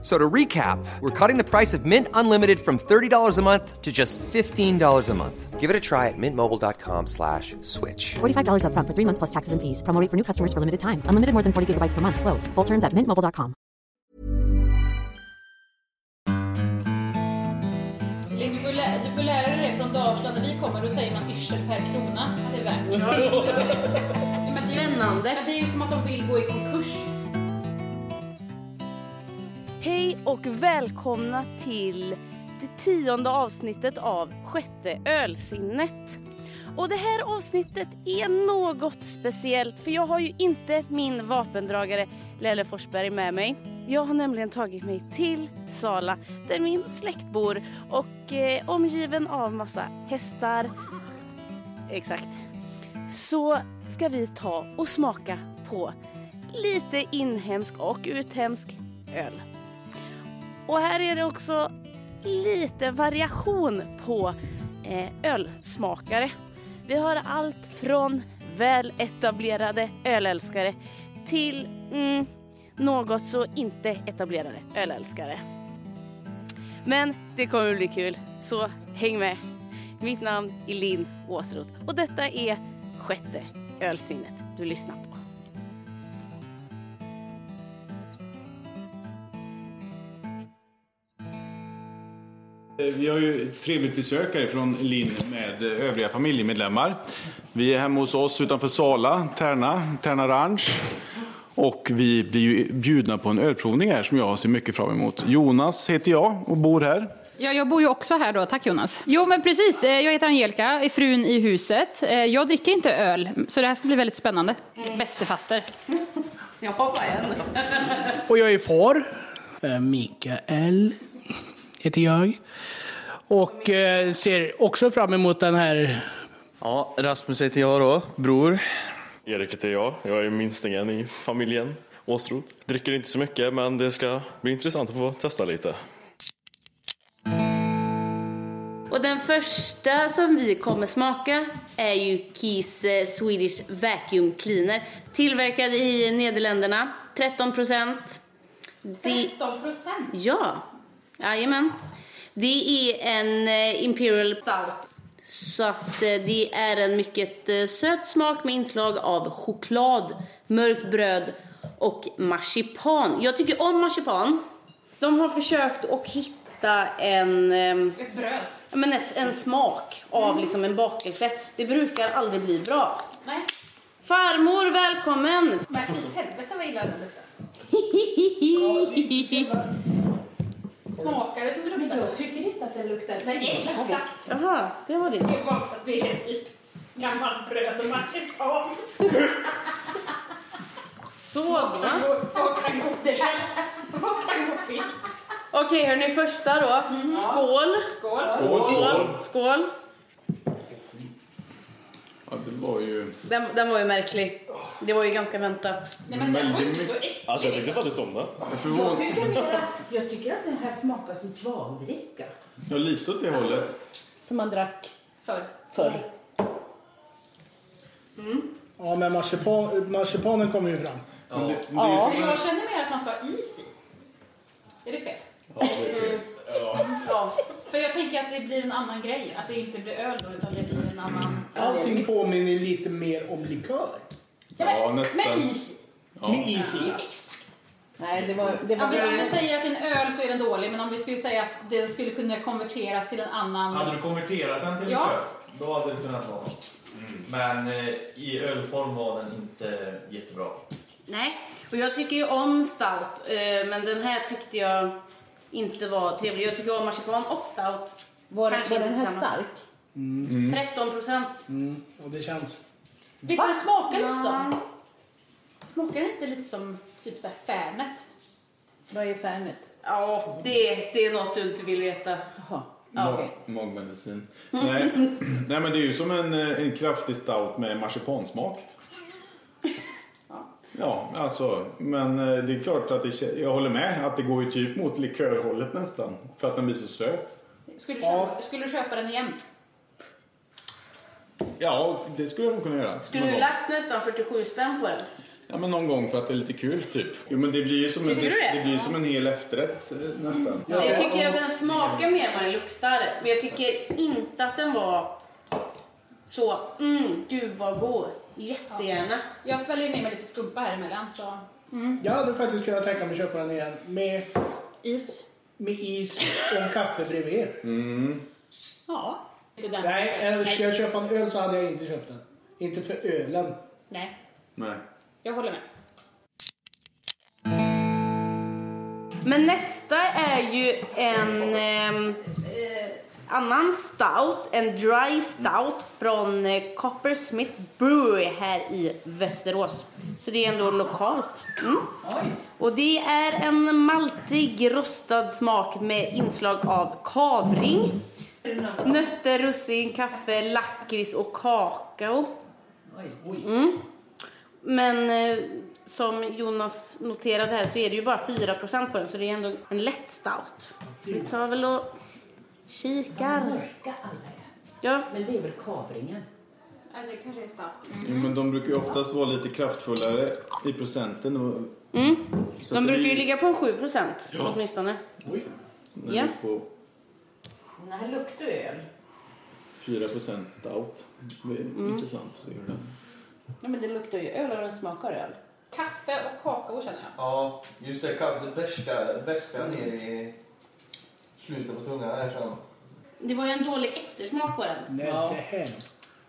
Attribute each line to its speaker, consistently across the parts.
Speaker 1: So to recap, we're cutting the price of Mint Unlimited from $30 a month to just $15 a month. Give it a try at mintmobile.com slash switch.
Speaker 2: $45 upfront for three months plus taxes and fees. Promo rate for new customers for limited time. Unlimited more than 40 gigabytes per month. Slows. Full terms at mintmobile.com.
Speaker 3: Eller Du får, lä- du får lära dig det från Dalsland. När vi kommer då säger man yrsel per krona. Att det är värt. Nej, men Det är, ju-
Speaker 4: Spännande.
Speaker 3: men det är ju som att de vill gå i konkurs.
Speaker 4: Hej och välkomna till det tionde avsnittet av Sjätte ölsinnet. Och det här avsnittet är något speciellt för jag har ju inte min vapendragare Lelle Forsberg med mig. Jag har nämligen tagit mig till Sala där min släkt bor och eh, omgiven av massa hästar. Exakt. Så ska vi ta och smaka på lite inhemsk och uthemsk öl. Och här är det också lite variation på eh, ölsmakare. Vi har allt från väletablerade ölälskare till mm, något så inte etablerade ölälskare. Men det kommer bli kul, så häng med. Mitt namn är Linn Åsroth och detta är sjätte ölsinnet du lyssnar på.
Speaker 5: Vi har ju ett trevligt besök härifrån Linn med övriga familjemedlemmar. Vi är hemma hos oss utanför Sala, Tärna, Tärna Ranch. Och vi blir ju bjudna på en ölprovning här som jag ser mycket fram emot. Jonas heter jag och bor här.
Speaker 6: Ja, jag bor ju också här då. Tack Jonas. Jo, men precis. Eh, Jag heter Angelica, är frun i huset. Eh, Jag dricker inte öl, så det här ska bli väldigt spännande. Bästefaster.
Speaker 4: Jag hoppar igen.
Speaker 7: Och jag är far. Eh, Mikael heter jag. Och eh, ser också fram emot den här.
Speaker 8: Ja, Rasmus heter jag då, bror.
Speaker 9: Erik heter jag. Jag är minstingen i familjen Åsroth. Dricker inte så mycket, men det ska bli intressant att få testa lite.
Speaker 4: Och den första som vi kommer smaka är ju Kies eh, Swedish Vacuum Cleaner. Tillverkad i Nederländerna, 13 procent.
Speaker 3: 13 procent.
Speaker 4: Ja, jajamän. Det är en eh, Imperial Stout. Så att eh, det är en mycket eh, söt smak med inslag av choklad, mörkt bröd och marsipan. Jag tycker om marsipan. De har försökt att hitta en... ehm,
Speaker 3: Ett bröd.
Speaker 4: Ja, men ett, en smak av
Speaker 10: Mm.
Speaker 4: liksom en bakelse. Det brukar aldrig bli bra.
Speaker 3: Nej.
Speaker 4: Farmor, välkommen!
Speaker 3: Men fy helvete vad illa den luktar. Smakar det som det luktar? Jag tycker inte att det luktar. Nej, exakt.
Speaker 4: Jaha, det var det.
Speaker 3: Det är bara för att det är typ gammalt bröd och marsipan.
Speaker 4: Så då.
Speaker 3: Vad kan gå fel? Vad kan gå fel?
Speaker 4: Okej, hörni, första då. Skål!
Speaker 3: Skål.
Speaker 4: Skål! Skål!
Speaker 5: Ja, det var ju...
Speaker 4: Den, den var ju märklig. Det var ju ganska väntat.
Speaker 3: Nej men den var ju inte så äcklig.
Speaker 9: Alltså, jag tänkte faktiskt somna.
Speaker 5: Förvån...
Speaker 10: Jag tycker att den här smakar som svaldricka.
Speaker 5: Ja, lite åt det hållet.
Speaker 10: Som man drack
Speaker 3: Förr.
Speaker 10: förr.
Speaker 7: Ja, men marsipan, marsipanen kommer ju fram.
Speaker 5: Men det, det är ju som en...
Speaker 3: Jag känner mer att man ska ha is i. Är det fel? För jag tänker att det blir en annan grej. Att det inte blir öl då, utan det blir en annan...
Speaker 7: Allting påminner lite mer om likör.
Speaker 3: Ja, men,
Speaker 5: Ja, nästan.
Speaker 3: Med is i.
Speaker 7: Med is i.
Speaker 10: Nej, det var... Det
Speaker 3: Om
Speaker 10: var
Speaker 3: vi, om vi säger att en öl så är den dålig, men om vi skulle säga att den skulle kunna konverteras till en annan...
Speaker 11: Hade du konverterat den till
Speaker 3: Ja.
Speaker 11: likör, då hade det kunnat vara. Men eh, i ölform var den inte jättebra.
Speaker 4: Nej, och jag tycker ju om stout, eh, men den här tyckte jag inte var trevlig. Jag tycker om marsipan och stout.
Speaker 10: var,
Speaker 4: Kanske
Speaker 10: var
Speaker 4: inte
Speaker 10: den här
Speaker 4: tillsammans.
Speaker 10: stark?
Speaker 4: 13 procent.
Speaker 7: Och det känns.
Speaker 3: Visst vad det smakar lite som? Smakar det inte lite som typ såhär Fernet?
Speaker 10: Vad är Fernet?
Speaker 4: Ja, det, det är något du inte vill veta.
Speaker 10: Jaha.
Speaker 4: Ja, okej.
Speaker 5: Magmedicin. Nej. Nej, men det är ju som en, eh, en kraftig stout med marsipansmak. Ja, alltså, men eh, det är klart att det, kä- jag håller med att det går ju typ mot likörhållet nästan. För att den blir så söt.
Speaker 3: Skulle du köpa, skulle du köpa den igen?
Speaker 5: Ja, det skulle jag nog kunna göra.
Speaker 4: Skulle
Speaker 5: Någon
Speaker 4: du
Speaker 5: gång.
Speaker 4: lagt nästan 47 spänn på den?
Speaker 5: Ja, men någon gång för att det är lite kul typ. Jo, men det blir ju som, en,
Speaker 4: Tycker du det?
Speaker 5: det blir ju som en hel efterrätt eh, nästan.
Speaker 4: jag tycker att den smakar mer än vad den luktar. Men jag tycker inte att den var så, mm, gud vad god. Jättegärna.
Speaker 3: Jag sväljer ner mig lite skumpa här emellan. Så.
Speaker 7: Jag hade faktiskt kunnat tänka mig att köpa den igen med
Speaker 3: is,
Speaker 7: med is och en kaffe bredvid.
Speaker 5: Mm.
Speaker 3: Ja. Inte den.
Speaker 7: Nej, eller ska jag köpa en öl så hade jag inte köpt den. Inte för ölen.
Speaker 3: Nej,
Speaker 5: Nej.
Speaker 3: jag håller med.
Speaker 4: Men nästa är ju en ehm, eh, annan stout, en dry stout från eh, Coppersmiths Brewery här i Västerås. Så det är ändå lokalt. Mm. Och det är en maltig rostad smak med inslag av kavring, nötter, russin, kaffe, lakrits och kakao. Mm. Men eh, som Jonas noterade här så är det ju bara 4 på den så det är ändå en lätt stout. Vi tar väl och kikar. Ja.
Speaker 3: Men det är väl kavringen? Ja, det kanske är starkt.
Speaker 5: Jo, men de brukar ju oftast vara lite kraftfullare i procenten. Och,
Speaker 4: Mm.
Speaker 5: Så
Speaker 4: De
Speaker 5: att det
Speaker 4: brukar ju
Speaker 5: blir-
Speaker 4: ligga på en 7
Speaker 5: Ja.
Speaker 4: åtminstone.
Speaker 5: när
Speaker 4: Ja.
Speaker 5: det är på
Speaker 4: Den här luktar öl.
Speaker 5: 4 stout. Det är
Speaker 4: Mm.
Speaker 5: intressant. Så gör det.
Speaker 4: Nej men det luktar ju öl och den smakar öl.
Speaker 3: Kaffe och kakao känner jag.
Speaker 9: Ja, just det. Kaffet bärska, bärska ner i slutet på tungan här sen.
Speaker 4: Det var ju en dålig eftersmak på den.
Speaker 7: Nej,
Speaker 4: ja.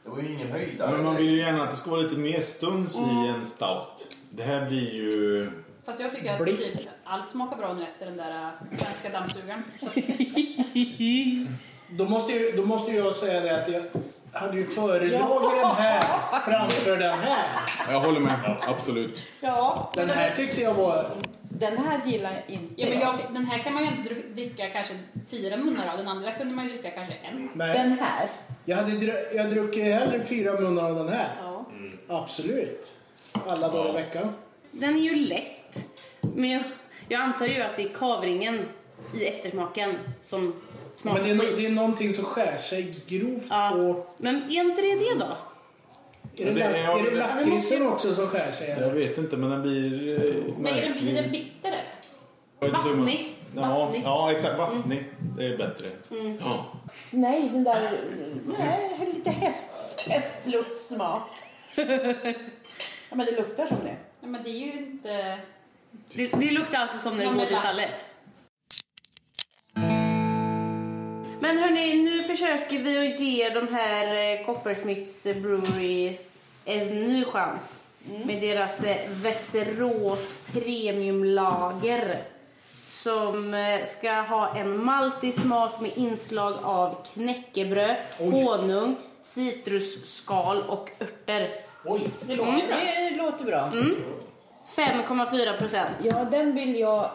Speaker 9: Det var ju ingen höjdare.
Speaker 5: Men man vill ju gärna att det ska vara lite mer stuns
Speaker 3: Mm.
Speaker 5: i en stout. Det här blir ju...
Speaker 3: Fast jag tycker att
Speaker 5: Blick.
Speaker 3: typ, allt smakar bra nu efter den där äh, svenska dammsugaren.
Speaker 7: Mm. Då måste, ju, då måste jag säga det att jag hade ju föredragit den här framför den här.
Speaker 5: Jag håller med. Absolut.
Speaker 11: Ja.
Speaker 7: Den här tyckte jag var...
Speaker 11: Den här gillar jag inte.
Speaker 3: Ja, men jag, den här kan man ju ändå dru- dricka kanske fyra munnar av. Den andra kunde man ju dricka kanske en.
Speaker 7: Nej. Den här? Jag hade dru- jag druckit hellre fyra munnar av den här.
Speaker 4: Ja.
Speaker 7: Mm. Absolut. Alla dagar i veckan.
Speaker 4: Den är ju lätt. Men jag, jag antar ju att det är kavringen i eftersmaken som smakar
Speaker 7: Men det är, no-
Speaker 4: skit.
Speaker 7: det är någonting som skär sig grovt på...
Speaker 4: Men är inte det det då?
Speaker 7: Är det,
Speaker 5: Ja, det
Speaker 7: la-
Speaker 5: är-
Speaker 7: är det lakritsen också som skär sig?
Speaker 5: Jag vet inte, men den blir... eh,
Speaker 3: Men är den,
Speaker 5: märklig.
Speaker 3: blir den bitter eller?
Speaker 5: Jag vet inte hur man-
Speaker 3: vattnig?
Speaker 5: Ja,
Speaker 3: Vattnig.
Speaker 5: ja, exakt. Vattnig. Det är bättre. Ja.
Speaker 11: Nej, den där... Nej, lite häst, hästluktsmak. ja, men det luktar som det.
Speaker 3: Ja, men det är ju inte...
Speaker 4: Det, det luktar alltså som när
Speaker 3: Ja,
Speaker 4: det
Speaker 3: men
Speaker 4: går till
Speaker 3: lass.
Speaker 4: stallet. Men hörni, nu försöker vi att ge de här eh, Coppersmiths Brewery en ny chans.
Speaker 11: Mm.
Speaker 4: Med deras eh, Västerås Premiumlager. Som eh, ska ha en maltig smak med inslag av knäckebröd, honung, citrusskal och örter.
Speaker 7: Oj,
Speaker 11: Det låter bra. Det låter bra.
Speaker 4: Mm. 5,4 procent.
Speaker 11: Ja, den vill jag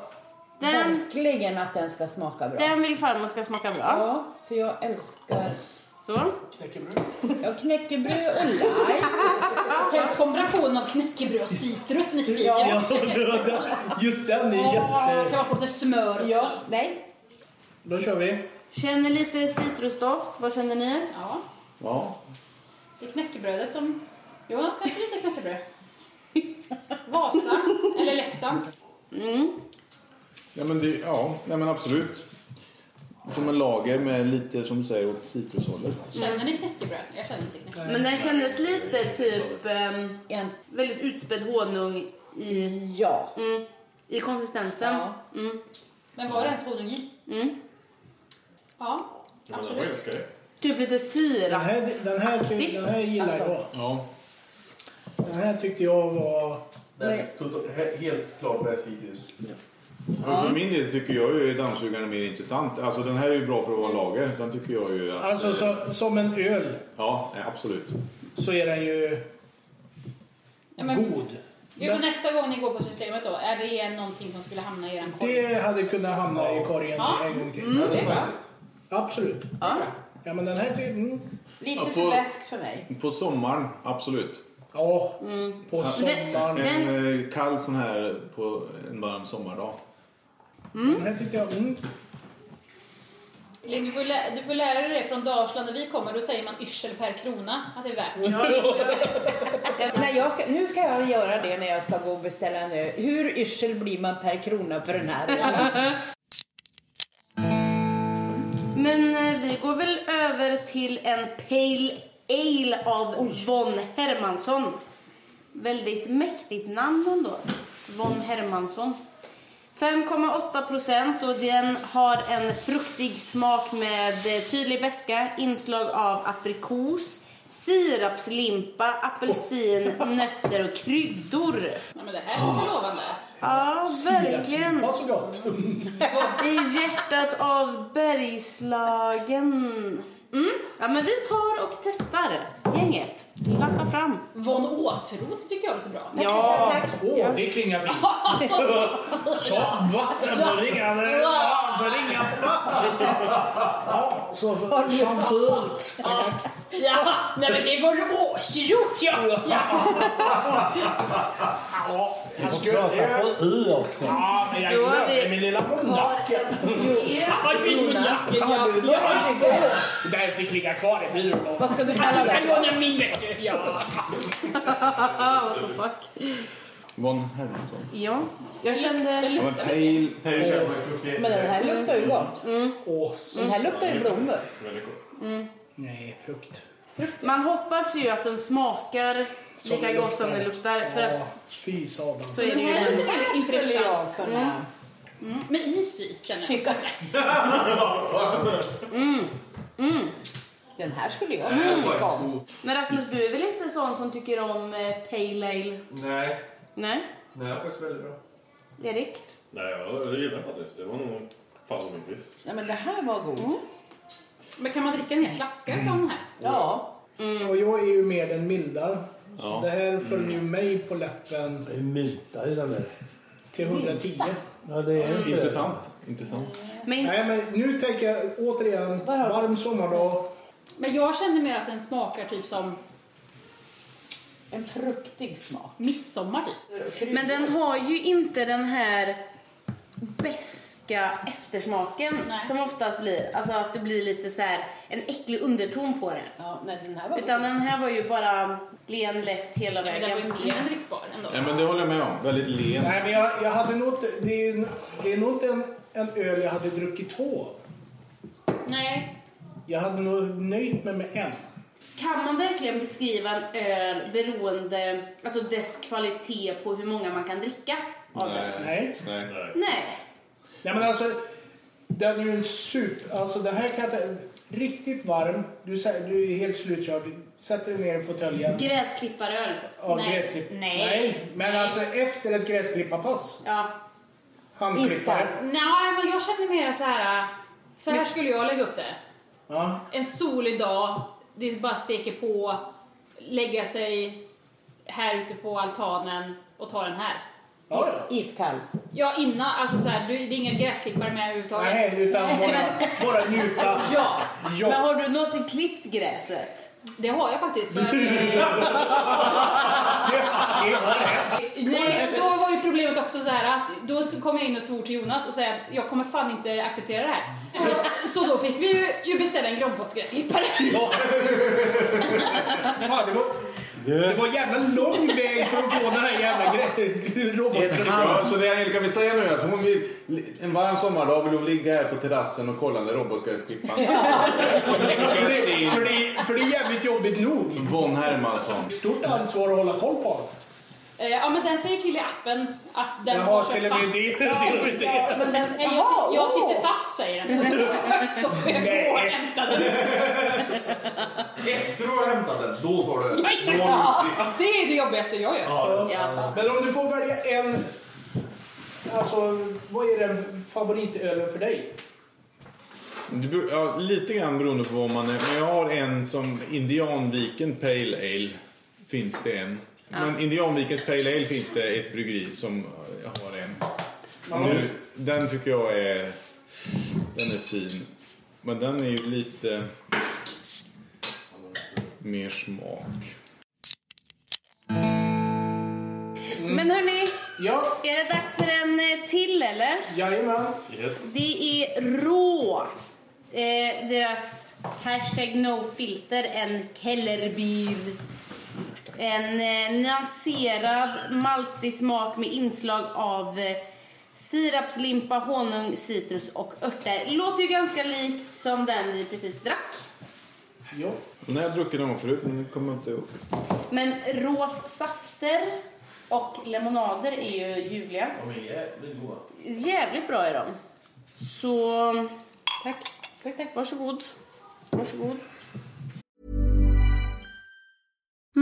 Speaker 4: Den-
Speaker 11: verkligen att den ska smaka bra.
Speaker 4: Den vill farmor ska smaka bra.
Speaker 11: Ja, för jag älskar...
Speaker 4: Så.
Speaker 7: Knäckebröd.
Speaker 11: Ja, knäckebröd och lime.
Speaker 3: Helst kombination av knäckebröd och citrus. Ni firar.
Speaker 7: Ja, just den är
Speaker 3: Åh, Kan
Speaker 7: jätte...
Speaker 3: man få lite smör också?
Speaker 11: Ja, nej.
Speaker 7: Då kör vi.
Speaker 4: Känner lite citrusdoft. Vad känner ni?
Speaker 3: Ja,
Speaker 5: Ja.
Speaker 3: det är knäckebrödet som... Jo, kanske lite knäckebröd. Vasa eller Leksand.
Speaker 5: Ja, men det, ja. Nej, men absolut. Som en lager med lite, som du säger, åt citrushållet.
Speaker 3: Känner ni knäckebröd? Jag känner inte knäckebröd.
Speaker 4: Men den kändes lite typ ehm, väldigt utspädd honung i,
Speaker 11: ja.
Speaker 4: mm, i konsistensen.
Speaker 3: Ja.
Speaker 4: Mm.
Speaker 3: Men var det ens honung i?
Speaker 4: Mm.
Speaker 3: Ja, absolut.
Speaker 4: Typ lite
Speaker 7: Den
Speaker 4: sirap.
Speaker 7: här, den här, ty- den här gillar jag.
Speaker 5: Ja.
Speaker 7: Den här tyckte jag var...
Speaker 9: Den är totalt- he- helt klart med citrus.
Speaker 5: Men för min del så tycker jag ju att dammsugaren är mer intressant. Alltså den här är ju bra för att vara lager. Sen tycker jag ju att...
Speaker 7: Alltså så, som en öl
Speaker 5: Ja, nej, absolut.
Speaker 7: så är den ju
Speaker 3: Ja, men-
Speaker 7: god.
Speaker 3: Jo, men nästa gång ni går på systemet då, är det igen någonting som skulle hamna i eran korg?
Speaker 7: Det hade kunnat hamna i korgen
Speaker 3: Ja.
Speaker 7: en gång till.
Speaker 3: Mm, det är bra.
Speaker 7: Absolut.
Speaker 4: Ja.
Speaker 7: Ja men den här tycker... Mm.
Speaker 11: Lite
Speaker 5: Ja, på-
Speaker 11: för läsk för mig.
Speaker 5: På sommaren, absolut.
Speaker 7: Ja,
Speaker 4: Mm.
Speaker 7: på
Speaker 5: Ja.
Speaker 7: sommaren.
Speaker 5: En eh, kall sån här på en varm sommardag.
Speaker 7: Den här tyckte jag... Mm.
Speaker 3: Lin, du, får lä- du får lära dig det från Dalsland. När vi kommer då säger man yrsel per krona. Att det är värt.
Speaker 11: När jag ska, nu ska jag göra det när jag ska gå och beställa nu. Hur yrsel blir man per krona för den här?
Speaker 4: Men eh, vi går väl över till en Pale Ale av Von Hermansson. Väldigt mäktigt namn ändå. Von Hermansson. 5,8 procent och den har en fruktig smak med eh, tydlig beska, inslag av aprikos, sirapslimpa, apelsin, nötter och kryddor.
Speaker 3: Nej, men det här känns ju lovande.
Speaker 4: Ja, verkligen.
Speaker 7: Sirapslimpa så gott.
Speaker 4: I hjärtat av Bergslagen. Mm. Ja, men vi tar och testar gänget. Lassa fram.
Speaker 3: Von Åsroth tycker jag låter bra.
Speaker 4: Ja.
Speaker 7: Åh, det klingar fint. Som vattenringande. Så ringa Ja, så för chanturet.
Speaker 3: Ja, nej men det var Åsroth ja. ja.
Speaker 7: Ja, jag
Speaker 12: Jag
Speaker 7: skulle...
Speaker 12: pratar på i också.
Speaker 7: Ja, men jag
Speaker 12: Så
Speaker 7: glömde
Speaker 12: vi-
Speaker 7: min lilla monakel.
Speaker 11: Jonas, har du lärt dig
Speaker 7: Det där fick ligga kvar i byrån.
Speaker 11: Vad ska du kalla det?
Speaker 7: Jag lånar min
Speaker 3: böcker. Ja.
Speaker 4: What the fuck.
Speaker 5: Von Hermansson.
Speaker 4: Ja, jag kände...
Speaker 5: Ja, men pale, pale.
Speaker 11: Men den här luktar ju gott. Den här luktar ju blommor.
Speaker 4: Mm.
Speaker 7: Nej, frukt.
Speaker 4: Man hoppas ju att den smakar lika gott som den luktar. För
Speaker 7: Ja,
Speaker 4: att
Speaker 7: Fy satan.
Speaker 4: så är det ju.
Speaker 3: Den här är lite
Speaker 4: Mm.
Speaker 3: mer intressant. Typ.
Speaker 4: Mm.
Speaker 3: Mm. Med is i känner jag.
Speaker 4: Mm. Mm.
Speaker 11: Den här skulle jag
Speaker 4: Mm.
Speaker 11: tycka om.
Speaker 4: Men Rasmus, du är väl inte sån som tycker om eh, Pale Ale?
Speaker 9: Nej,
Speaker 4: Nej?
Speaker 9: det här är faktiskt väldigt bra.
Speaker 4: Erik?
Speaker 13: Nej, jag gillar faktiskt. Det var nog favoritvis.
Speaker 11: Ja, men det här var god.
Speaker 3: Men kan man dricka en hel flaska utav den här?
Speaker 11: Ja.
Speaker 7: Och jag är ju mer den milda. Så
Speaker 12: Ja.
Speaker 7: det här följer ju mig på läppen. Det är milda i den där. Till 110.
Speaker 12: Ja, det är inte
Speaker 5: Intressant. Intressant.
Speaker 7: Nej, men nu tänker jag återigen, varm sommardag.
Speaker 3: Men jag känner mer att den smakar typ som
Speaker 11: en fruktig smak.
Speaker 3: Midsommar typ.
Speaker 4: Men den har ju inte den här beska eftersmaken som oftast blir. Alltså att det blir lite så här en äcklig underton på det. Utan den här var ju bara len lätt hela
Speaker 3: men
Speaker 4: vägen.
Speaker 3: den var ju mer än drickbar ändå.
Speaker 5: Ja, men det håller jag med om. Väldigt len.
Speaker 7: Nej, men jag, jag hade nog inte- det är, det är nog inte en, en öl jag hade druckit två av.
Speaker 3: Nej.
Speaker 7: Jag hade nog nöjt mig med en.
Speaker 4: Kan man verkligen beskriva en öl beroende, alltså dess kvalitet på hur många man kan dricka?
Speaker 7: Nej.
Speaker 5: Nej.
Speaker 4: Nej.
Speaker 7: Nej, men alltså, den är ju en super... Alltså, den här kan jag inte... Riktigt varm. Du, sä- du är helt slutkörd. Du sätter dig ner i fåtöljen.
Speaker 4: Gräsklipparöl.
Speaker 7: Ja, gräsklipp.
Speaker 3: Nej.
Speaker 7: Men alltså efter ett gräsklipparpass.
Speaker 4: Ja.
Speaker 7: Handklippare.
Speaker 3: Nej, men jag känner mer så här. Så här skulle jag lägga upp det.
Speaker 7: Ja.
Speaker 3: En solig dag, det bara steker på, lägga sig här ute på altanen och ta den här.
Speaker 11: Iskall.
Speaker 3: Ja, innan, alltså så här, du, det är inga gräsklippare med överhuvudtaget.
Speaker 7: Nej, utan bara, bara njuta.
Speaker 3: Ja.
Speaker 7: ja.
Speaker 4: Men har du någonsin klippt gräset?
Speaker 3: Det har jag faktiskt. För Nej, och då var ju problemet också så här att då så kom jag in och svor till Jonas och sa att jag kommer fan inte acceptera det här. Och, så då fick vi ju, ju beställa en grombotgräsklippare.
Speaker 7: Ja. Fan, det var... Det var en jävla lång väg för att få den här jävla gre- roboten.
Speaker 5: Ja, så det Angelica vill säga nu är att hon vill, en varm sommardag vill hon ligga här på terrassen och kolla när Robbo ska klippa.
Speaker 7: För det, för, det, för det är jävligt jobbigt nog.
Speaker 5: Von Hermansson.
Speaker 7: Stort ansvar att hålla koll på honom.
Speaker 3: Eh, ja men den säger till i appen att den
Speaker 7: Jaha,
Speaker 3: har kört
Speaker 7: till och med
Speaker 3: fast.
Speaker 7: det,
Speaker 3: Ja,
Speaker 7: till och med det.
Speaker 3: ja, men den- Nej, jag,
Speaker 11: Jaha,
Speaker 3: sit- jag
Speaker 11: åh.
Speaker 3: sitter fast säger den. då får jag gå och hämta den.
Speaker 9: Efter du har hämtat den, då tar du den.
Speaker 3: Ja, exakt.
Speaker 9: Då har du-
Speaker 3: Det är det jobbigaste jag gör.
Speaker 7: Men om du får välja en... Alltså, vad är den favoritölen för dig?
Speaker 5: Det beror, ja, lite grann beroende på vad man är. Men jag har en som Indianviken Pale Ale. Finns det en. Men Indianvikens Pale Ale finns det ett bryggeri som har en. Nu, den tycker jag är... Den är fin. Men den är ju lite... Mer smak.
Speaker 3: Mm.
Speaker 4: Men hörni,
Speaker 7: ja.
Speaker 4: är det dags för en eh, till eller?
Speaker 7: Jajamän.
Speaker 4: Yes. Det är Rå. Eh, deras hashtag nofilter, en kellerbil. En eh, nyanserad maltig smak med inslag av eh, sirapslimpa, honung, citrus och örter. Låter ju ganska likt som den vi precis drack.
Speaker 7: Ja.
Speaker 5: Nej, jag har druckit någon förut, men det kommer jag inte ihåg.
Speaker 4: Men råssafter och lemonader är ju ljuvliga.
Speaker 9: De är jävligt goda.
Speaker 4: Jävligt bra är de. Så... Tack. Tack, tack. Varsågod. Varsågod.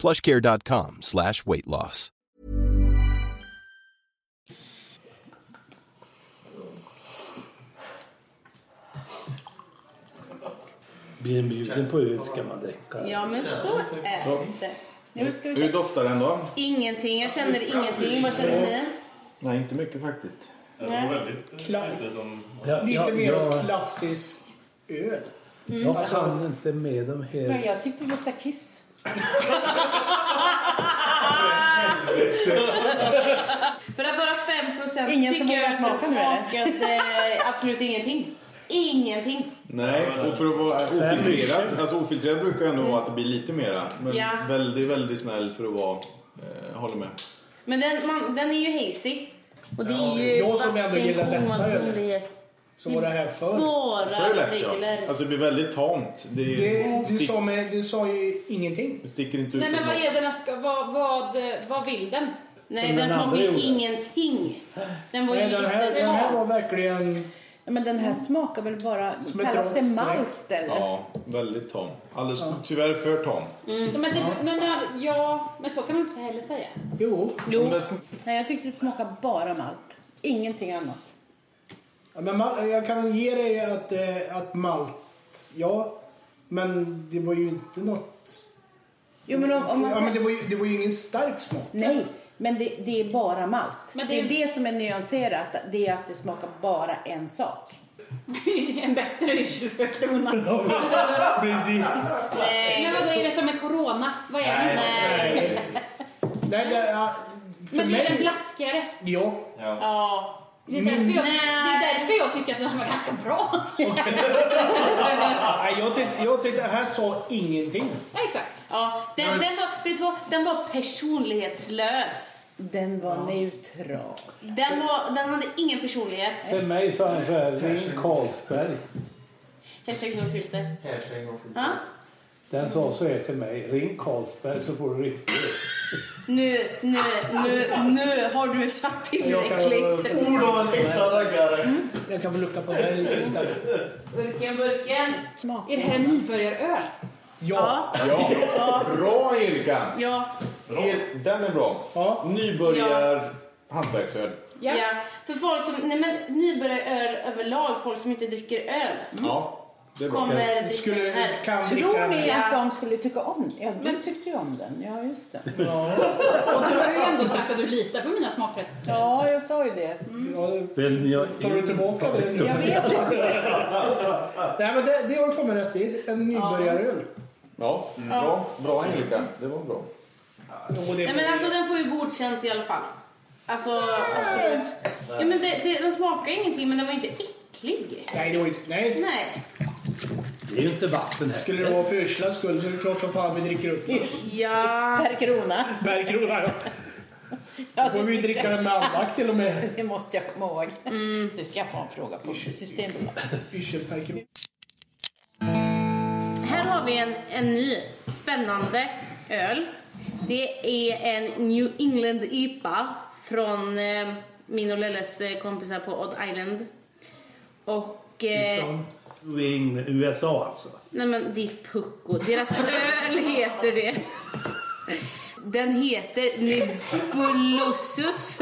Speaker 14: plushcare.com slash weight loss.
Speaker 12: Blir den bjuden på ut ska man dricka.
Speaker 4: Ja, men så är det. Nu ska vi
Speaker 5: Hur
Speaker 4: se.
Speaker 5: doftar den då?
Speaker 4: Ingenting. Jag känner ingenting. Vad känner ni?
Speaker 5: Nej, inte mycket faktiskt.
Speaker 4: Det var
Speaker 9: väldigt
Speaker 7: Klar.
Speaker 9: lite som...
Speaker 7: Lite mer åt
Speaker 12: jag-
Speaker 7: klassisk öl.
Speaker 3: Mm.
Speaker 7: Alltså-
Speaker 12: Jag kan inte med dem
Speaker 11: Men
Speaker 12: här.
Speaker 11: jag tyckte det luktade kiss.
Speaker 4: För att vara 5 procent
Speaker 11: Ingen som
Speaker 4: tycker jag
Speaker 11: vågar
Speaker 4: att den
Speaker 11: smaka nu, eller?
Speaker 4: smakade eh, absolut ingenting. Ingenting.
Speaker 5: Nej, och för att vara ofiltrerad. Alltså ofiltrerad brukar ändå vara att det blir lite mera. Men
Speaker 4: Ja.
Speaker 5: väldigt, väldigt snäll för att vara... Eh, jag håller med.
Speaker 4: Men den, man, den är ju hazy. Och det är ju
Speaker 7: jag som ändå gillar
Speaker 4: vattenkorn,
Speaker 7: lätta öl.
Speaker 4: ton, det är-
Speaker 7: Så var det här förr.
Speaker 4: Bara
Speaker 5: För lätt ja.
Speaker 4: regulars.
Speaker 5: Alltså det blir väldigt tamt. Det,
Speaker 7: Det, det,
Speaker 5: stick,
Speaker 7: sa mig, det sa ju ingenting.
Speaker 5: det sticker inte ut.
Speaker 3: Nej men
Speaker 5: på
Speaker 3: vad
Speaker 5: något.
Speaker 3: är det den ska, vad, vad, vad vill den?
Speaker 4: Nej, den smakade ju ingenting. Den var ju
Speaker 7: Nej, den, här,
Speaker 4: jättebra.
Speaker 7: den här var verkligen...
Speaker 11: Men den här smakar väl bara...
Speaker 7: Som ett
Speaker 11: Kallas det
Speaker 7: rakt streck.
Speaker 11: malt eller?
Speaker 5: Ja, väldigt tam. Alldeles, Tyvärr för tam.
Speaker 3: Mm. Ja, Men, det, men, det- ja, men så kan man inte heller säga.
Speaker 7: Jo.
Speaker 11: Nej, jag tyckte det smakade bara malt. Ingenting annat.
Speaker 7: Ja, Men ma- jag kan ge dig att, eh, att malt, ja. Men det var ju inte något...
Speaker 11: Jo, men om, om man
Speaker 7: ja,
Speaker 11: säger-
Speaker 7: men det, var ju, det var ju ingen stark smak.
Speaker 11: Nej, men det, det är bara malt.
Speaker 3: Men det
Speaker 11: det,
Speaker 3: är-
Speaker 11: är det som är nyanserat. Det är att det smakar bara en sak.
Speaker 3: en bättre är ju 24 kronor.
Speaker 7: Precis.
Speaker 4: Nej.
Speaker 3: Men vadå, är det som med corona? Vad är det?
Speaker 7: Nej. Nej, det, ja, för
Speaker 3: Men det är en
Speaker 7: mig...
Speaker 3: blaskigare.
Speaker 7: Ja.
Speaker 4: Ja.
Speaker 3: Det är, därför jag, det är
Speaker 4: Nej.
Speaker 3: därför jag tycker att den här var ganska bra.
Speaker 7: Nej, jag tyckte, jag tyckte det här sa ingenting.
Speaker 3: Ja, exakt.
Speaker 4: Ja, den, den, var, vet du vad, den var personlighetslös.
Speaker 11: Den var neutral.
Speaker 4: Den, var, den hade ingen personlighet.
Speaker 12: För mig så är den så här, ring Carlsberg.
Speaker 4: Hashtag nofilter.
Speaker 9: Hashtag och skit.
Speaker 4: Ja.
Speaker 12: Den sa så här till mig, ring Carlsberg så får du riktigt.
Speaker 4: Nu, nu, nu, nu har du sagt
Speaker 7: Jag kan-
Speaker 4: tillräckligt.
Speaker 9: Ord av en äkta raggare.
Speaker 7: Jag kan väl lukta på den lite istället.
Speaker 4: Burken, burken.
Speaker 3: Är det här en nybörjaröl?
Speaker 7: Ja.
Speaker 5: Ja. Bra Erika!
Speaker 4: Ja.
Speaker 5: Er- Den är bra. Nybörjar hantverksöl.
Speaker 4: Ja. För folk som, nej men nybörjaröl överlag, folk som inte dricker öl.
Speaker 5: Ja, det är bra.
Speaker 4: Kommer dricka
Speaker 7: Skulle-
Speaker 4: den här.
Speaker 7: kan dricka
Speaker 11: Tror ni
Speaker 4: den.
Speaker 11: att de skulle tycka om den? Ja, du tyckte ju om den. Ja, just det.
Speaker 3: Och du har ju ändå sagt att du litar på mina smakpreferenser.
Speaker 11: Ja, jag sa ju det.
Speaker 12: Vill jag
Speaker 7: Tar du tillbaka det? nu?
Speaker 11: Jag vet inte.
Speaker 7: Nej, men det, det har du fan rätt i. En nybörjaröl.
Speaker 5: Ja, bra. Bra Erika. Det var bra.
Speaker 7: Och det
Speaker 4: Nej men alltså den får ju godkänt i alla fall. Alltså absolut. Ja, men det, det, den smakar ingenting men den var inte äcklig.
Speaker 7: Nej, det var inte... Nej.
Speaker 4: Nej.
Speaker 12: Det är ju inte vatten här.
Speaker 7: Skulle det vara för yrslans skull så är det klart som fan vi dricker upp den.
Speaker 4: Ja.
Speaker 11: Per krona.
Speaker 7: Per krona, ja. Då får vi ju dricka den med andakt till och med.
Speaker 11: Det måste jag komma ihåg. Mm. Det ska jag få en fråga på Systembolaget.
Speaker 7: Yrselperkebus.
Speaker 4: Här har vi en, en ny spännande öl. Det är en New England IPA från eh, min och Lelles eh, kompisar på Odd Island. Och... Eh,
Speaker 15: Wing, USA alltså.
Speaker 4: nej men det är Pucko. Deras öl heter det. Den heter Nebulosus.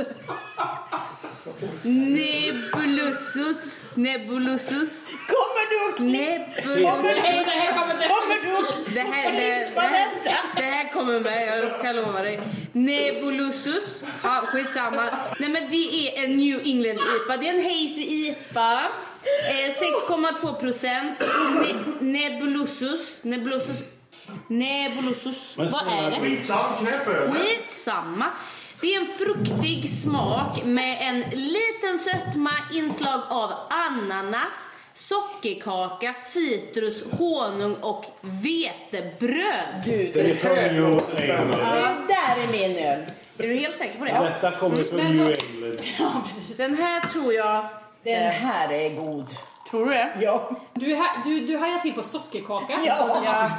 Speaker 4: Nebulosus. Nebulosus.
Speaker 11: Kommer du att
Speaker 4: Nebulosus.
Speaker 11: Kommer du att
Speaker 4: Det här, det, det, här, det här kommer med, jag ska lova dig. Nebulosus. Ja, skitsamma. Nej men det är en New England IPA. Det är en hazy IPA. Eh, 6,2 procent. Ne- nebulosus. Nebulosus. Nebulosus.
Speaker 15: Men
Speaker 4: Vad
Speaker 15: snälla,
Speaker 4: är det?
Speaker 15: skitsam knäpp öl.
Speaker 4: Skitsamma. Det är en fruktig smak med en liten sötma, inslag av ananas, sockerkaka, citrus, honung och vetebröd.
Speaker 11: Det här
Speaker 15: låter
Speaker 11: Ja,
Speaker 15: spännande.
Speaker 11: det där är min öl.
Speaker 4: Är du helt säker på det?
Speaker 15: Detta kommer från New England.
Speaker 4: Den här tror jag...
Speaker 11: Den här är god.
Speaker 4: Tror du det?
Speaker 11: Ja.
Speaker 3: Du, ha- du, du hajar till på sockerkaka.
Speaker 11: Ja.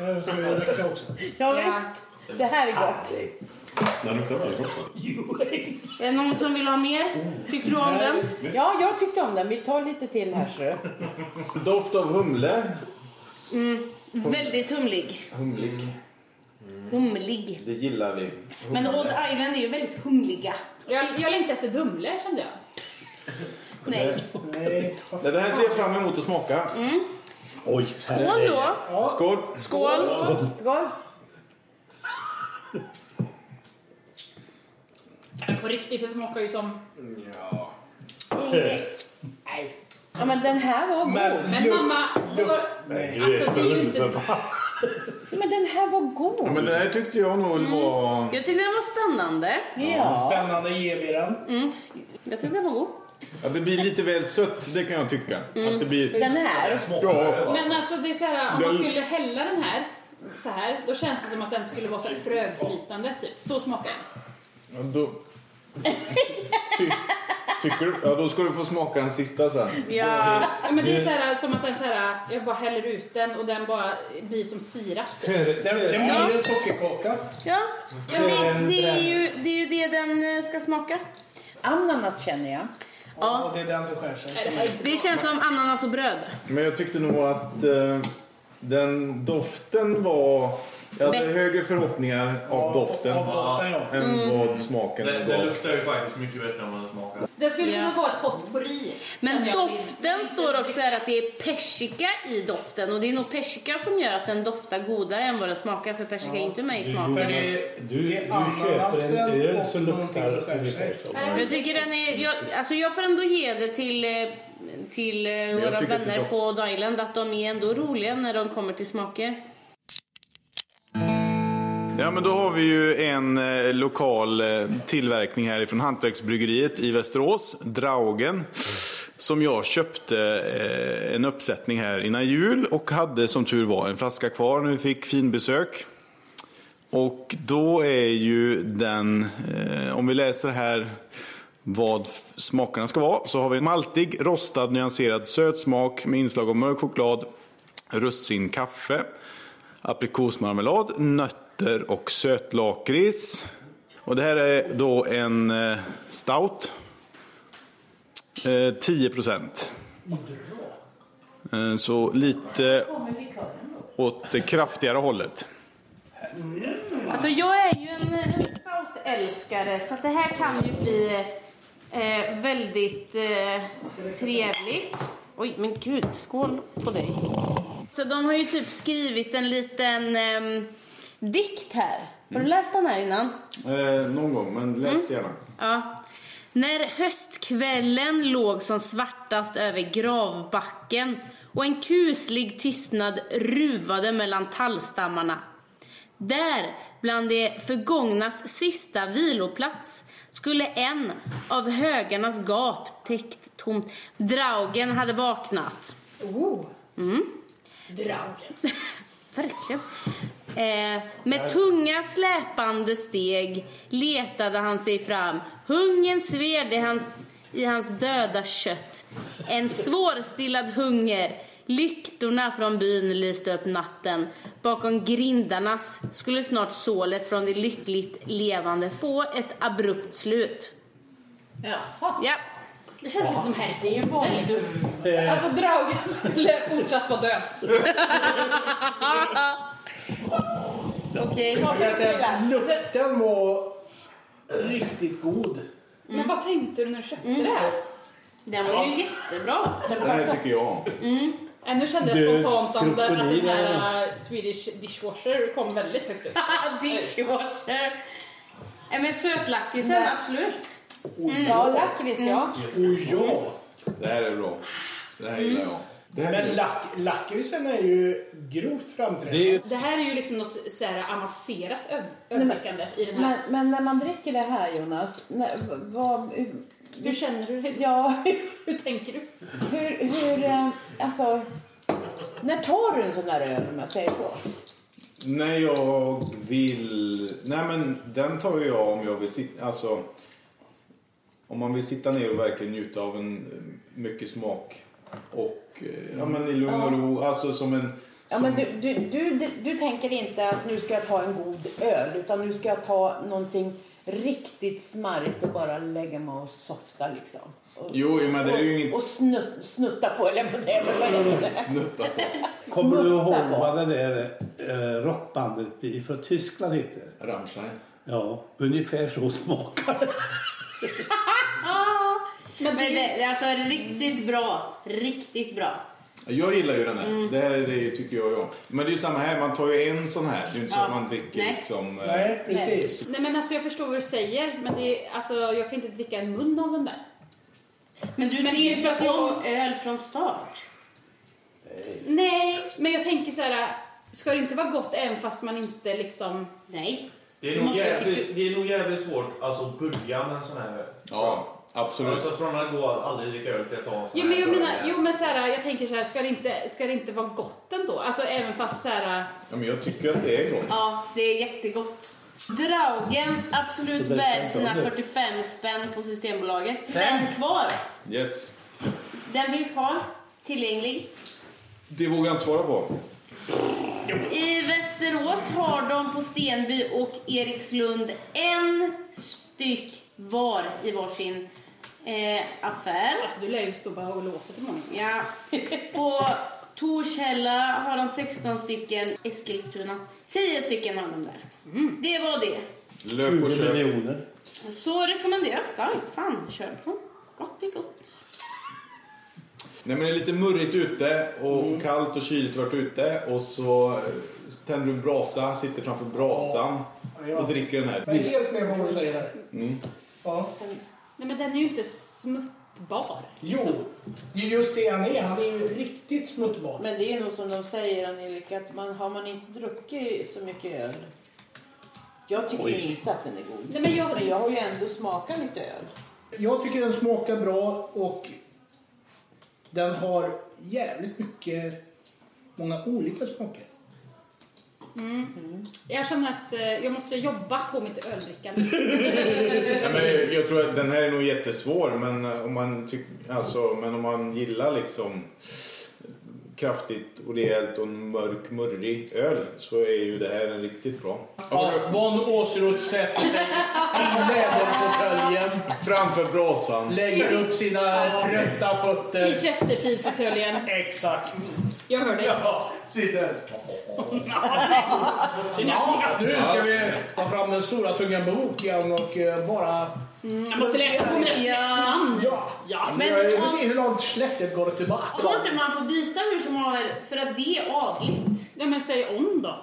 Speaker 7: Eh, Ska jag dricka också?
Speaker 11: Ja, visst. Det här är gott.
Speaker 13: Den luktar väldigt gott. alltså.
Speaker 4: Är det någon som vill ha mer? Tycker du om den?
Speaker 11: Ja, jag tyckte om den. Vi tar lite till här. Så.
Speaker 5: Doft av humle.
Speaker 4: Mm. Väldigt humlig.
Speaker 5: Humlig.
Speaker 4: Humlig.
Speaker 5: Det gillar vi.
Speaker 4: Men Odd Island är ju väldigt humliga.
Speaker 3: Jag, jag längtar efter humle kände jag.
Speaker 4: Nej.
Speaker 5: Nej. Det här ser jag fram emot att smaka.
Speaker 4: Mm.
Speaker 5: Oj.
Speaker 4: Skål då.
Speaker 5: Skål.
Speaker 4: Skål.
Speaker 11: Skål.
Speaker 3: Men på riktigt, det smakar ju som...
Speaker 5: Ja.
Speaker 11: Inget. Nej. Ja, men den här var god.
Speaker 3: Men, mamma, det var...
Speaker 5: Nej,
Speaker 3: Alltså, det är ju inte...
Speaker 11: Ja, men den här var god.
Speaker 5: Ja, men det här tyckte jag nog var...
Speaker 4: Jag tyckte den var spännande.
Speaker 7: Spännande, ger vi den.
Speaker 4: Mm. Jag tyckte den var god.
Speaker 5: Att det blir lite väl sött, det kan jag tycka.
Speaker 4: Mm.
Speaker 5: Att det blir...
Speaker 4: Den här.
Speaker 5: Ja.
Speaker 3: Men alltså, det är så här, om man
Speaker 5: Den-
Speaker 3: skulle hälla den här så här, då känns det som att den skulle vara så här trögflytande, typ. Så smakar den.
Speaker 5: Ja, Då... Ty... Tycker du? Ja, då ska du få smaka den sista sen.
Speaker 3: Ja. men det är så här, som att den så här, jag bara häller ut den och den bara blir som sirap.
Speaker 7: Den, den blir
Speaker 4: Ja.
Speaker 7: en sockerkaka.
Speaker 4: Ja, ja det, det, är ju, det är ju det den eh, ska smaka.
Speaker 11: Ananas känner jag.
Speaker 4: Ja.
Speaker 7: Det är den som skär sig.
Speaker 4: Det känns som ananas och bröd.
Speaker 5: Men jag tyckte nog att eh, den doften var... Jag hade
Speaker 4: Bä-
Speaker 5: högre förhoppningar av doften,
Speaker 9: av doften, ja.
Speaker 5: än
Speaker 9: Mm.
Speaker 5: vad smaken
Speaker 9: Det,
Speaker 5: gav.
Speaker 9: det luktar ju faktiskt mycket bättre än vad det smakar.
Speaker 3: Det skulle
Speaker 4: Ja.
Speaker 3: kunna vara ett potpourri.
Speaker 4: Men
Speaker 3: känner jag.
Speaker 4: doften står också här att det är persika i doften och det är nog persika som gör att den doftar godare än vad den smakar för persika är inte med i smaken.
Speaker 7: För det,
Speaker 12: Du,
Speaker 7: det är
Speaker 12: du köper en
Speaker 7: ananasen
Speaker 12: öl
Speaker 7: och
Speaker 12: som
Speaker 7: någonting som
Speaker 12: luktar
Speaker 7: skär sig.
Speaker 12: ungefär
Speaker 4: Jag tycker den är, jag, alltså jag får ändå ge det till, eh, till eh,
Speaker 12: jag
Speaker 4: våra
Speaker 12: tycker att
Speaker 4: vänner
Speaker 12: det doft-
Speaker 4: på Odd Island att de är ändå roliga när de kommer till smaker.
Speaker 5: Ja, men då har vi ju en eh, lokal eh, tillverkning härifrån Hantverksbryggeriet i Västerås, Draugen. Som jag köpte eh, en uppsättning här innan jul och hade som tur var en flaska kvar när vi fick finbesök. Och då är ju den, eh, om vi läser här vad f- smakerna ska vara, så har vi maltig, rostad, nyanserad söt smak med inslag av mörk choklad, russin, kaffe, aprikosmarmelad, nötter och sötlakrits. Och det här är då en eh, stout. Eh, 10%. Eh, så lite åt det kraftigare hållet.
Speaker 4: Alltså jag är ju en, en stoutälskare så att det här kan ju bli eh, väldigt eh, trevligt. Oj, men gud, skål på dig. Så de har ju typ skrivit en liten ehm, dikt här. Har
Speaker 7: Mm.
Speaker 4: du läst den här innan?
Speaker 5: Eh, någon gång, men läs gärna.
Speaker 4: Ja. När höstkvällen låg som svartast över gravbacken och en kuslig tystnad ruvade mellan tallstammarna. Där, bland det förgångnas sista viloplats, skulle en av högarnas gap täckt tomt. Draugen hade vaknat.
Speaker 11: Oh.
Speaker 4: Mm.
Speaker 11: Dragen.
Speaker 4: Verkligen. Eh, med tunga släpande steg letade han sig fram. Hungern sved i hans, i hans döda kött. En svårstillad hunger. Lyktorna från byn lyste upp natten. Bakom grindarnas skulle snart sålet från det lyckligt levande få ett abrupt slut.
Speaker 11: Jaha.
Speaker 4: Ja.
Speaker 3: Det känns lite som här. Det
Speaker 11: var
Speaker 3: dumt.
Speaker 5: Eh.
Speaker 3: Alltså Draugen skulle fortsatt vara död.
Speaker 4: Okej.
Speaker 16: Jag kan säga att lukten var riktigt god.
Speaker 4: Mm.
Speaker 3: Men vad tänkte du när du köpte det här?
Speaker 4: Den var ju jättebra.
Speaker 5: Det här tycker jag om.
Speaker 3: Mm. Äh, nu kände jag
Speaker 5: Du,
Speaker 3: spontant att den att den
Speaker 5: krokodil är
Speaker 3: här äh, Swedish dishwasher kom väldigt högt upp.
Speaker 4: dishwasher! Äh, men sötlakritsen,
Speaker 11: Nej.
Speaker 4: absolut.
Speaker 11: Mm. Ja, lakrits ja.
Speaker 4: Mm.
Speaker 16: Oh ja!
Speaker 5: Det här är bra. Det här gillar jag. Det här
Speaker 7: Men
Speaker 5: gillar
Speaker 7: lak lakritsen är ju grovt framträdande.
Speaker 5: Det är ju-
Speaker 3: Det här är ju liksom något så här avancerat ö-
Speaker 11: men-
Speaker 3: överraskande i den
Speaker 11: Men,
Speaker 3: här.
Speaker 11: men när man dricker det här Jonas, när, vad, hur,
Speaker 3: Hur känner du dig?
Speaker 11: Ja,
Speaker 3: hur tänker du?
Speaker 11: Hur, hur, eh, alltså, när tar du en sån där öl om jag säger så?
Speaker 5: jag. När jag vill... Nej men den tar ju jag om jag vill sitta... Alltså... Om man vill sitta ner och verkligen njuta av en eh, mycket smak. Och eh, ja, men i lugn och ro. Alltså som en...
Speaker 11: Ja, men du, du, du, du, du tänker inte att nu ska jag ta en god öl utan nu ska jag ta någonting riktigt smarrigt och bara lägga mig och softa liksom. Och,
Speaker 5: Jo, jo, men det är ju inget-
Speaker 11: Och, och snut, snutta på eller vad säger man? Vad heter det?
Speaker 5: Snutta på.
Speaker 16: Kommer du ihåg
Speaker 11: på.
Speaker 16: vad det där eh, rockbandet från Tyskland heter?
Speaker 5: Rammstein.
Speaker 16: Ja, ungefär så smakar det.
Speaker 4: Men det, det är alltså riktigt bra. Riktigt bra.
Speaker 5: Jag gillar ju den här. Det här är det ju- tycker jag ju om. Men det är ju samma här. Man tar ju en sån här. Det är ju inte så
Speaker 3: Ja.
Speaker 5: att man dricker
Speaker 3: Nej.
Speaker 5: liksom... eh,
Speaker 3: Nej. Nej men alltså jag förstår vad du säger men det är, alltså, jag kan inte dricka en mun av den där.
Speaker 4: Men du
Speaker 3: Men är det för att jag...
Speaker 4: öl från start?
Speaker 3: Nej, men jag tänker så här. Ska det inte vara gott även fast man inte liksom...
Speaker 4: Nej.
Speaker 9: Det är, nog jävligt, det är nog jävligt svårt alltså, att börja med en sån här.
Speaker 5: Ja, absolut.
Speaker 9: Alltså, från att gå och aldrig dricka öl till att ta en sån
Speaker 3: Jo
Speaker 9: här.
Speaker 3: men jag
Speaker 9: öl
Speaker 3: menar,
Speaker 9: igen.
Speaker 3: jo men så här, jag tänker så här, ska det inte, ska det inte vara gott ändå? Alltså även fast så här...
Speaker 5: Ja, men jag tycker att det är gott.
Speaker 4: Ja, det är jättegott. Draugen, absolut
Speaker 5: Det där
Speaker 4: värd
Speaker 5: känns
Speaker 4: sina
Speaker 5: bra.
Speaker 4: 45 spänn på Systembolaget.
Speaker 5: Fem?
Speaker 4: Den kvar.
Speaker 5: Yes.
Speaker 4: Den finns kvar. Tillgänglig.
Speaker 5: Det vågar jag inte svara på.
Speaker 4: I Västerås har de på Stenby och Erikslund en styck var i varsin eh, affär.
Speaker 3: Alltså du lär ju stå bara och låsa till många.
Speaker 4: Ja. På Torshälla har de 16 stycken, Eskilstuna 10 stycken har de där.
Speaker 5: Mm.
Speaker 4: Det var det.
Speaker 5: Löp och köp.
Speaker 16: miljoner.
Speaker 4: Så rekommenderas starkt. Fan, köp dem. Gott det är gott.
Speaker 5: Nej, men det är lite murrigt ute och
Speaker 7: Mm.
Speaker 5: kallt och kyligt varit ute och så eh, tänder du en brasa, sitter framför brasan och dricker den här.
Speaker 7: Jag är helt med på vad du säger. här.
Speaker 5: Mm.
Speaker 7: Ja.
Speaker 3: Nej men den är ju inte smuttbar.
Speaker 7: Jo, det är just det han är. Han är ju riktigt smuttbar.
Speaker 11: Men det är nog som de säger Angelica, att man, har man inte druckit så mycket öl. Jag tycker
Speaker 7: Oj.
Speaker 11: ju inte att den är god.
Speaker 3: Nej, men jag-
Speaker 11: har ju ändå smakat lite öl.
Speaker 7: Jag tycker den smakar bra och den har jävligt mycket, många olika smaker.
Speaker 3: Mm. Jag känner att eh, jag måste jobba på mitt öldrickande.
Speaker 5: Nej, men jag, jag tror att den här är nog jättesvår men eh, om man, tyck, alltså, men om man gillar liksom kraftigt och rejält och en mörk murrig öl så är ju det här en riktigt bra.
Speaker 7: Ja, Von Åsroth sätter sig i läderfåtöljen,
Speaker 5: Framför brasan.
Speaker 7: lägger upp sina trötta
Speaker 3: I
Speaker 7: fötter.
Speaker 3: Chesterfield-fåtöljen.
Speaker 7: Exakt.
Speaker 3: Jag hör dig.
Speaker 7: Ja, sitter.
Speaker 3: Det är
Speaker 7: Ja,
Speaker 3: nästan-
Speaker 7: nu ska vi ta fram den stora tunga boken och eh, bara...
Speaker 3: Mm, jag måste läsa på mina släktnamn.
Speaker 7: Ja.
Speaker 3: Ja.
Speaker 7: Men,
Speaker 4: Men
Speaker 7: jag vill
Speaker 4: om-
Speaker 7: se hur långt släktet går tillbaka.
Speaker 4: Klart att man får byta hur som har för att det är adligt.
Speaker 3: Ja men säg om då.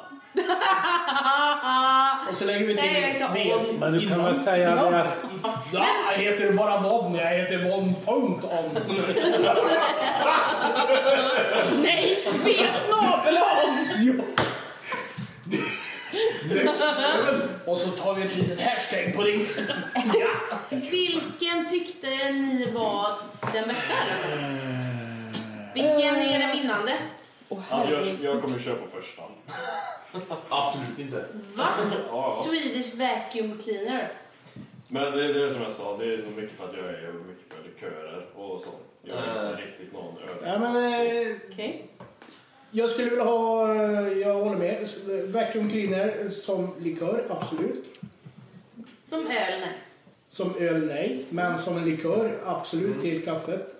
Speaker 7: Och så lägger vi till
Speaker 4: Nej, jag vet inte
Speaker 7: det
Speaker 4: om.
Speaker 16: Men du kan väl säga
Speaker 7: Ja.
Speaker 16: det att
Speaker 7: Ja, jag heter bara Von, jag heter Von punkt om.
Speaker 3: Nej, vet snabel om!
Speaker 7: Och så tar vi ett litet hashtag på det.
Speaker 4: Vilken tyckte ni var den bästa? Vilken är den vinnande?
Speaker 13: Alltså, jag, jag kommer köpa första. Absolut inte.
Speaker 4: Va?
Speaker 13: Ja.
Speaker 4: Swedish vacuum cleaner.
Speaker 13: Men det, det är som jag sa, det är nog mycket för att jag är mycket för körer och sånt. Jag är
Speaker 9: Mm.
Speaker 13: inte riktigt någon över.
Speaker 7: Ja, men, eh, Jag skulle vilja ha, eh, jag håller med, s- eh, vacuum cleaner som likör, absolut.
Speaker 4: Som öl, nej.
Speaker 7: Som öl, nej. Men som en likör, absolut, till kaffet.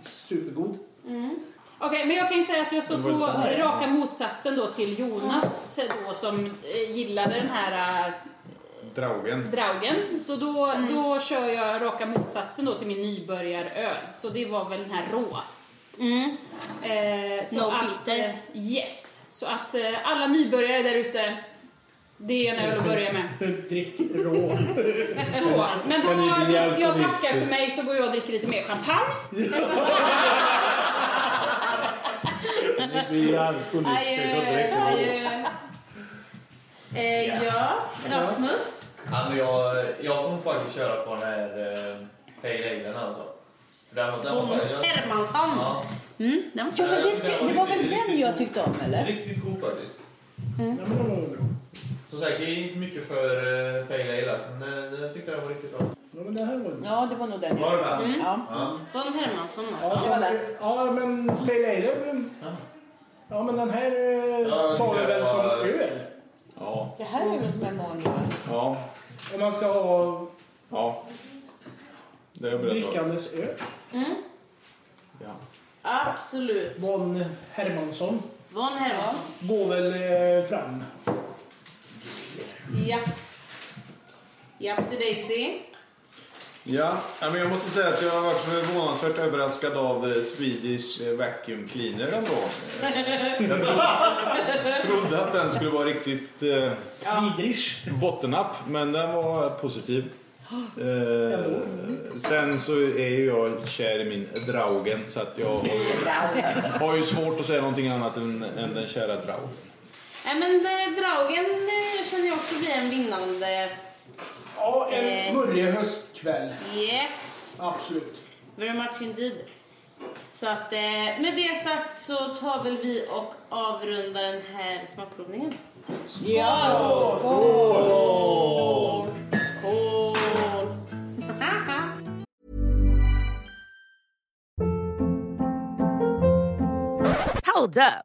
Speaker 7: Supergod.
Speaker 3: Mm. Okej, men jag kan ju säga att jag står
Speaker 7: Det var
Speaker 3: på
Speaker 7: lite nära.
Speaker 3: raka motsatsen då till Jonas då som eh, gillade den här eh,
Speaker 5: Draugen.
Speaker 3: draugen. Så då,
Speaker 4: Mm.
Speaker 3: då kör jag raka motsatsen då till min nybörjaröl. Så det var väl den här rå.
Speaker 4: Mm.
Speaker 3: Eh, så
Speaker 4: No
Speaker 3: att,
Speaker 4: filter.
Speaker 3: eh, Yes. Så att eh, alla nybörjare där ute, det är en öl att börja med.
Speaker 7: Drick rå.
Speaker 3: Så, men då,
Speaker 7: En liten
Speaker 3: jag, jag
Speaker 7: alkoholist.
Speaker 3: tackar för mig så går jag och dricker lite mer champagne.
Speaker 12: Vi är alkoholister och dricker
Speaker 4: Adjö. Eh, ja, Rasmus.
Speaker 9: Ja, men jag, jag får nog faktiskt köra på den här eh, reglerna alltså. För den, den,
Speaker 4: Von Hermansson.
Speaker 9: Ja.
Speaker 4: Mm, den var
Speaker 11: Ja, men det, ty- det var väl den jag tyckte om eller?
Speaker 9: Riktigt god faktiskt.
Speaker 7: Ja, men de var bra.
Speaker 9: Som sagt, jag är inte mycket för uh, Pale Ale alltså, men eh, jag tyckte den var riktigt bra.
Speaker 7: Ja, men det här var
Speaker 11: Ja, det var nog den.
Speaker 9: Var det med?
Speaker 11: Mm. Ja.
Speaker 4: Von Hermansson
Speaker 7: Ja,
Speaker 4: alltså.
Speaker 7: så, ja men Pale Ale, men- ja men den här eh,
Speaker 5: Ja,
Speaker 7: tar vi
Speaker 5: det
Speaker 7: väl som
Speaker 5: var-
Speaker 7: öl?
Speaker 5: Ja.
Speaker 11: Det här är väl som en vanlig öl?
Speaker 5: Ja.
Speaker 7: Om man ska ha
Speaker 5: Ja. Det är jag beredd på.
Speaker 7: drickandes öl.
Speaker 4: Mm.
Speaker 5: Ja.
Speaker 4: Absolut.
Speaker 7: Von Hermansson
Speaker 4: Von Hermansson.
Speaker 7: går väl eh, fram.
Speaker 4: Ja. Japp till Daisy.
Speaker 5: Ja, ja, men jag måste säga att jag har varit förvånansvärt överraskad av eh, Swedish eh, Vacuum Cleaner ändå. Jag trodde, trodde att den skulle vara riktigt eh, bottennapp, men den var positiv. Eh, sen så är ju jag kär i min Draugen så att jag har ju, har ju svårt att säga någonting annat än, än den kära Draugen.
Speaker 4: Nej men eh, Draugen eh, känner jag också blir en vinnande.
Speaker 7: Ja,
Speaker 4: Eh.
Speaker 7: en murrig höstkväll.
Speaker 4: Yeah,
Speaker 7: Absolut.
Speaker 4: very much indeed. Så att eh, med det sagt så tar väl vi och avrundar den här smakprovningen.
Speaker 11: Ja!
Speaker 4: Skål! Skål!
Speaker 17: Hold up.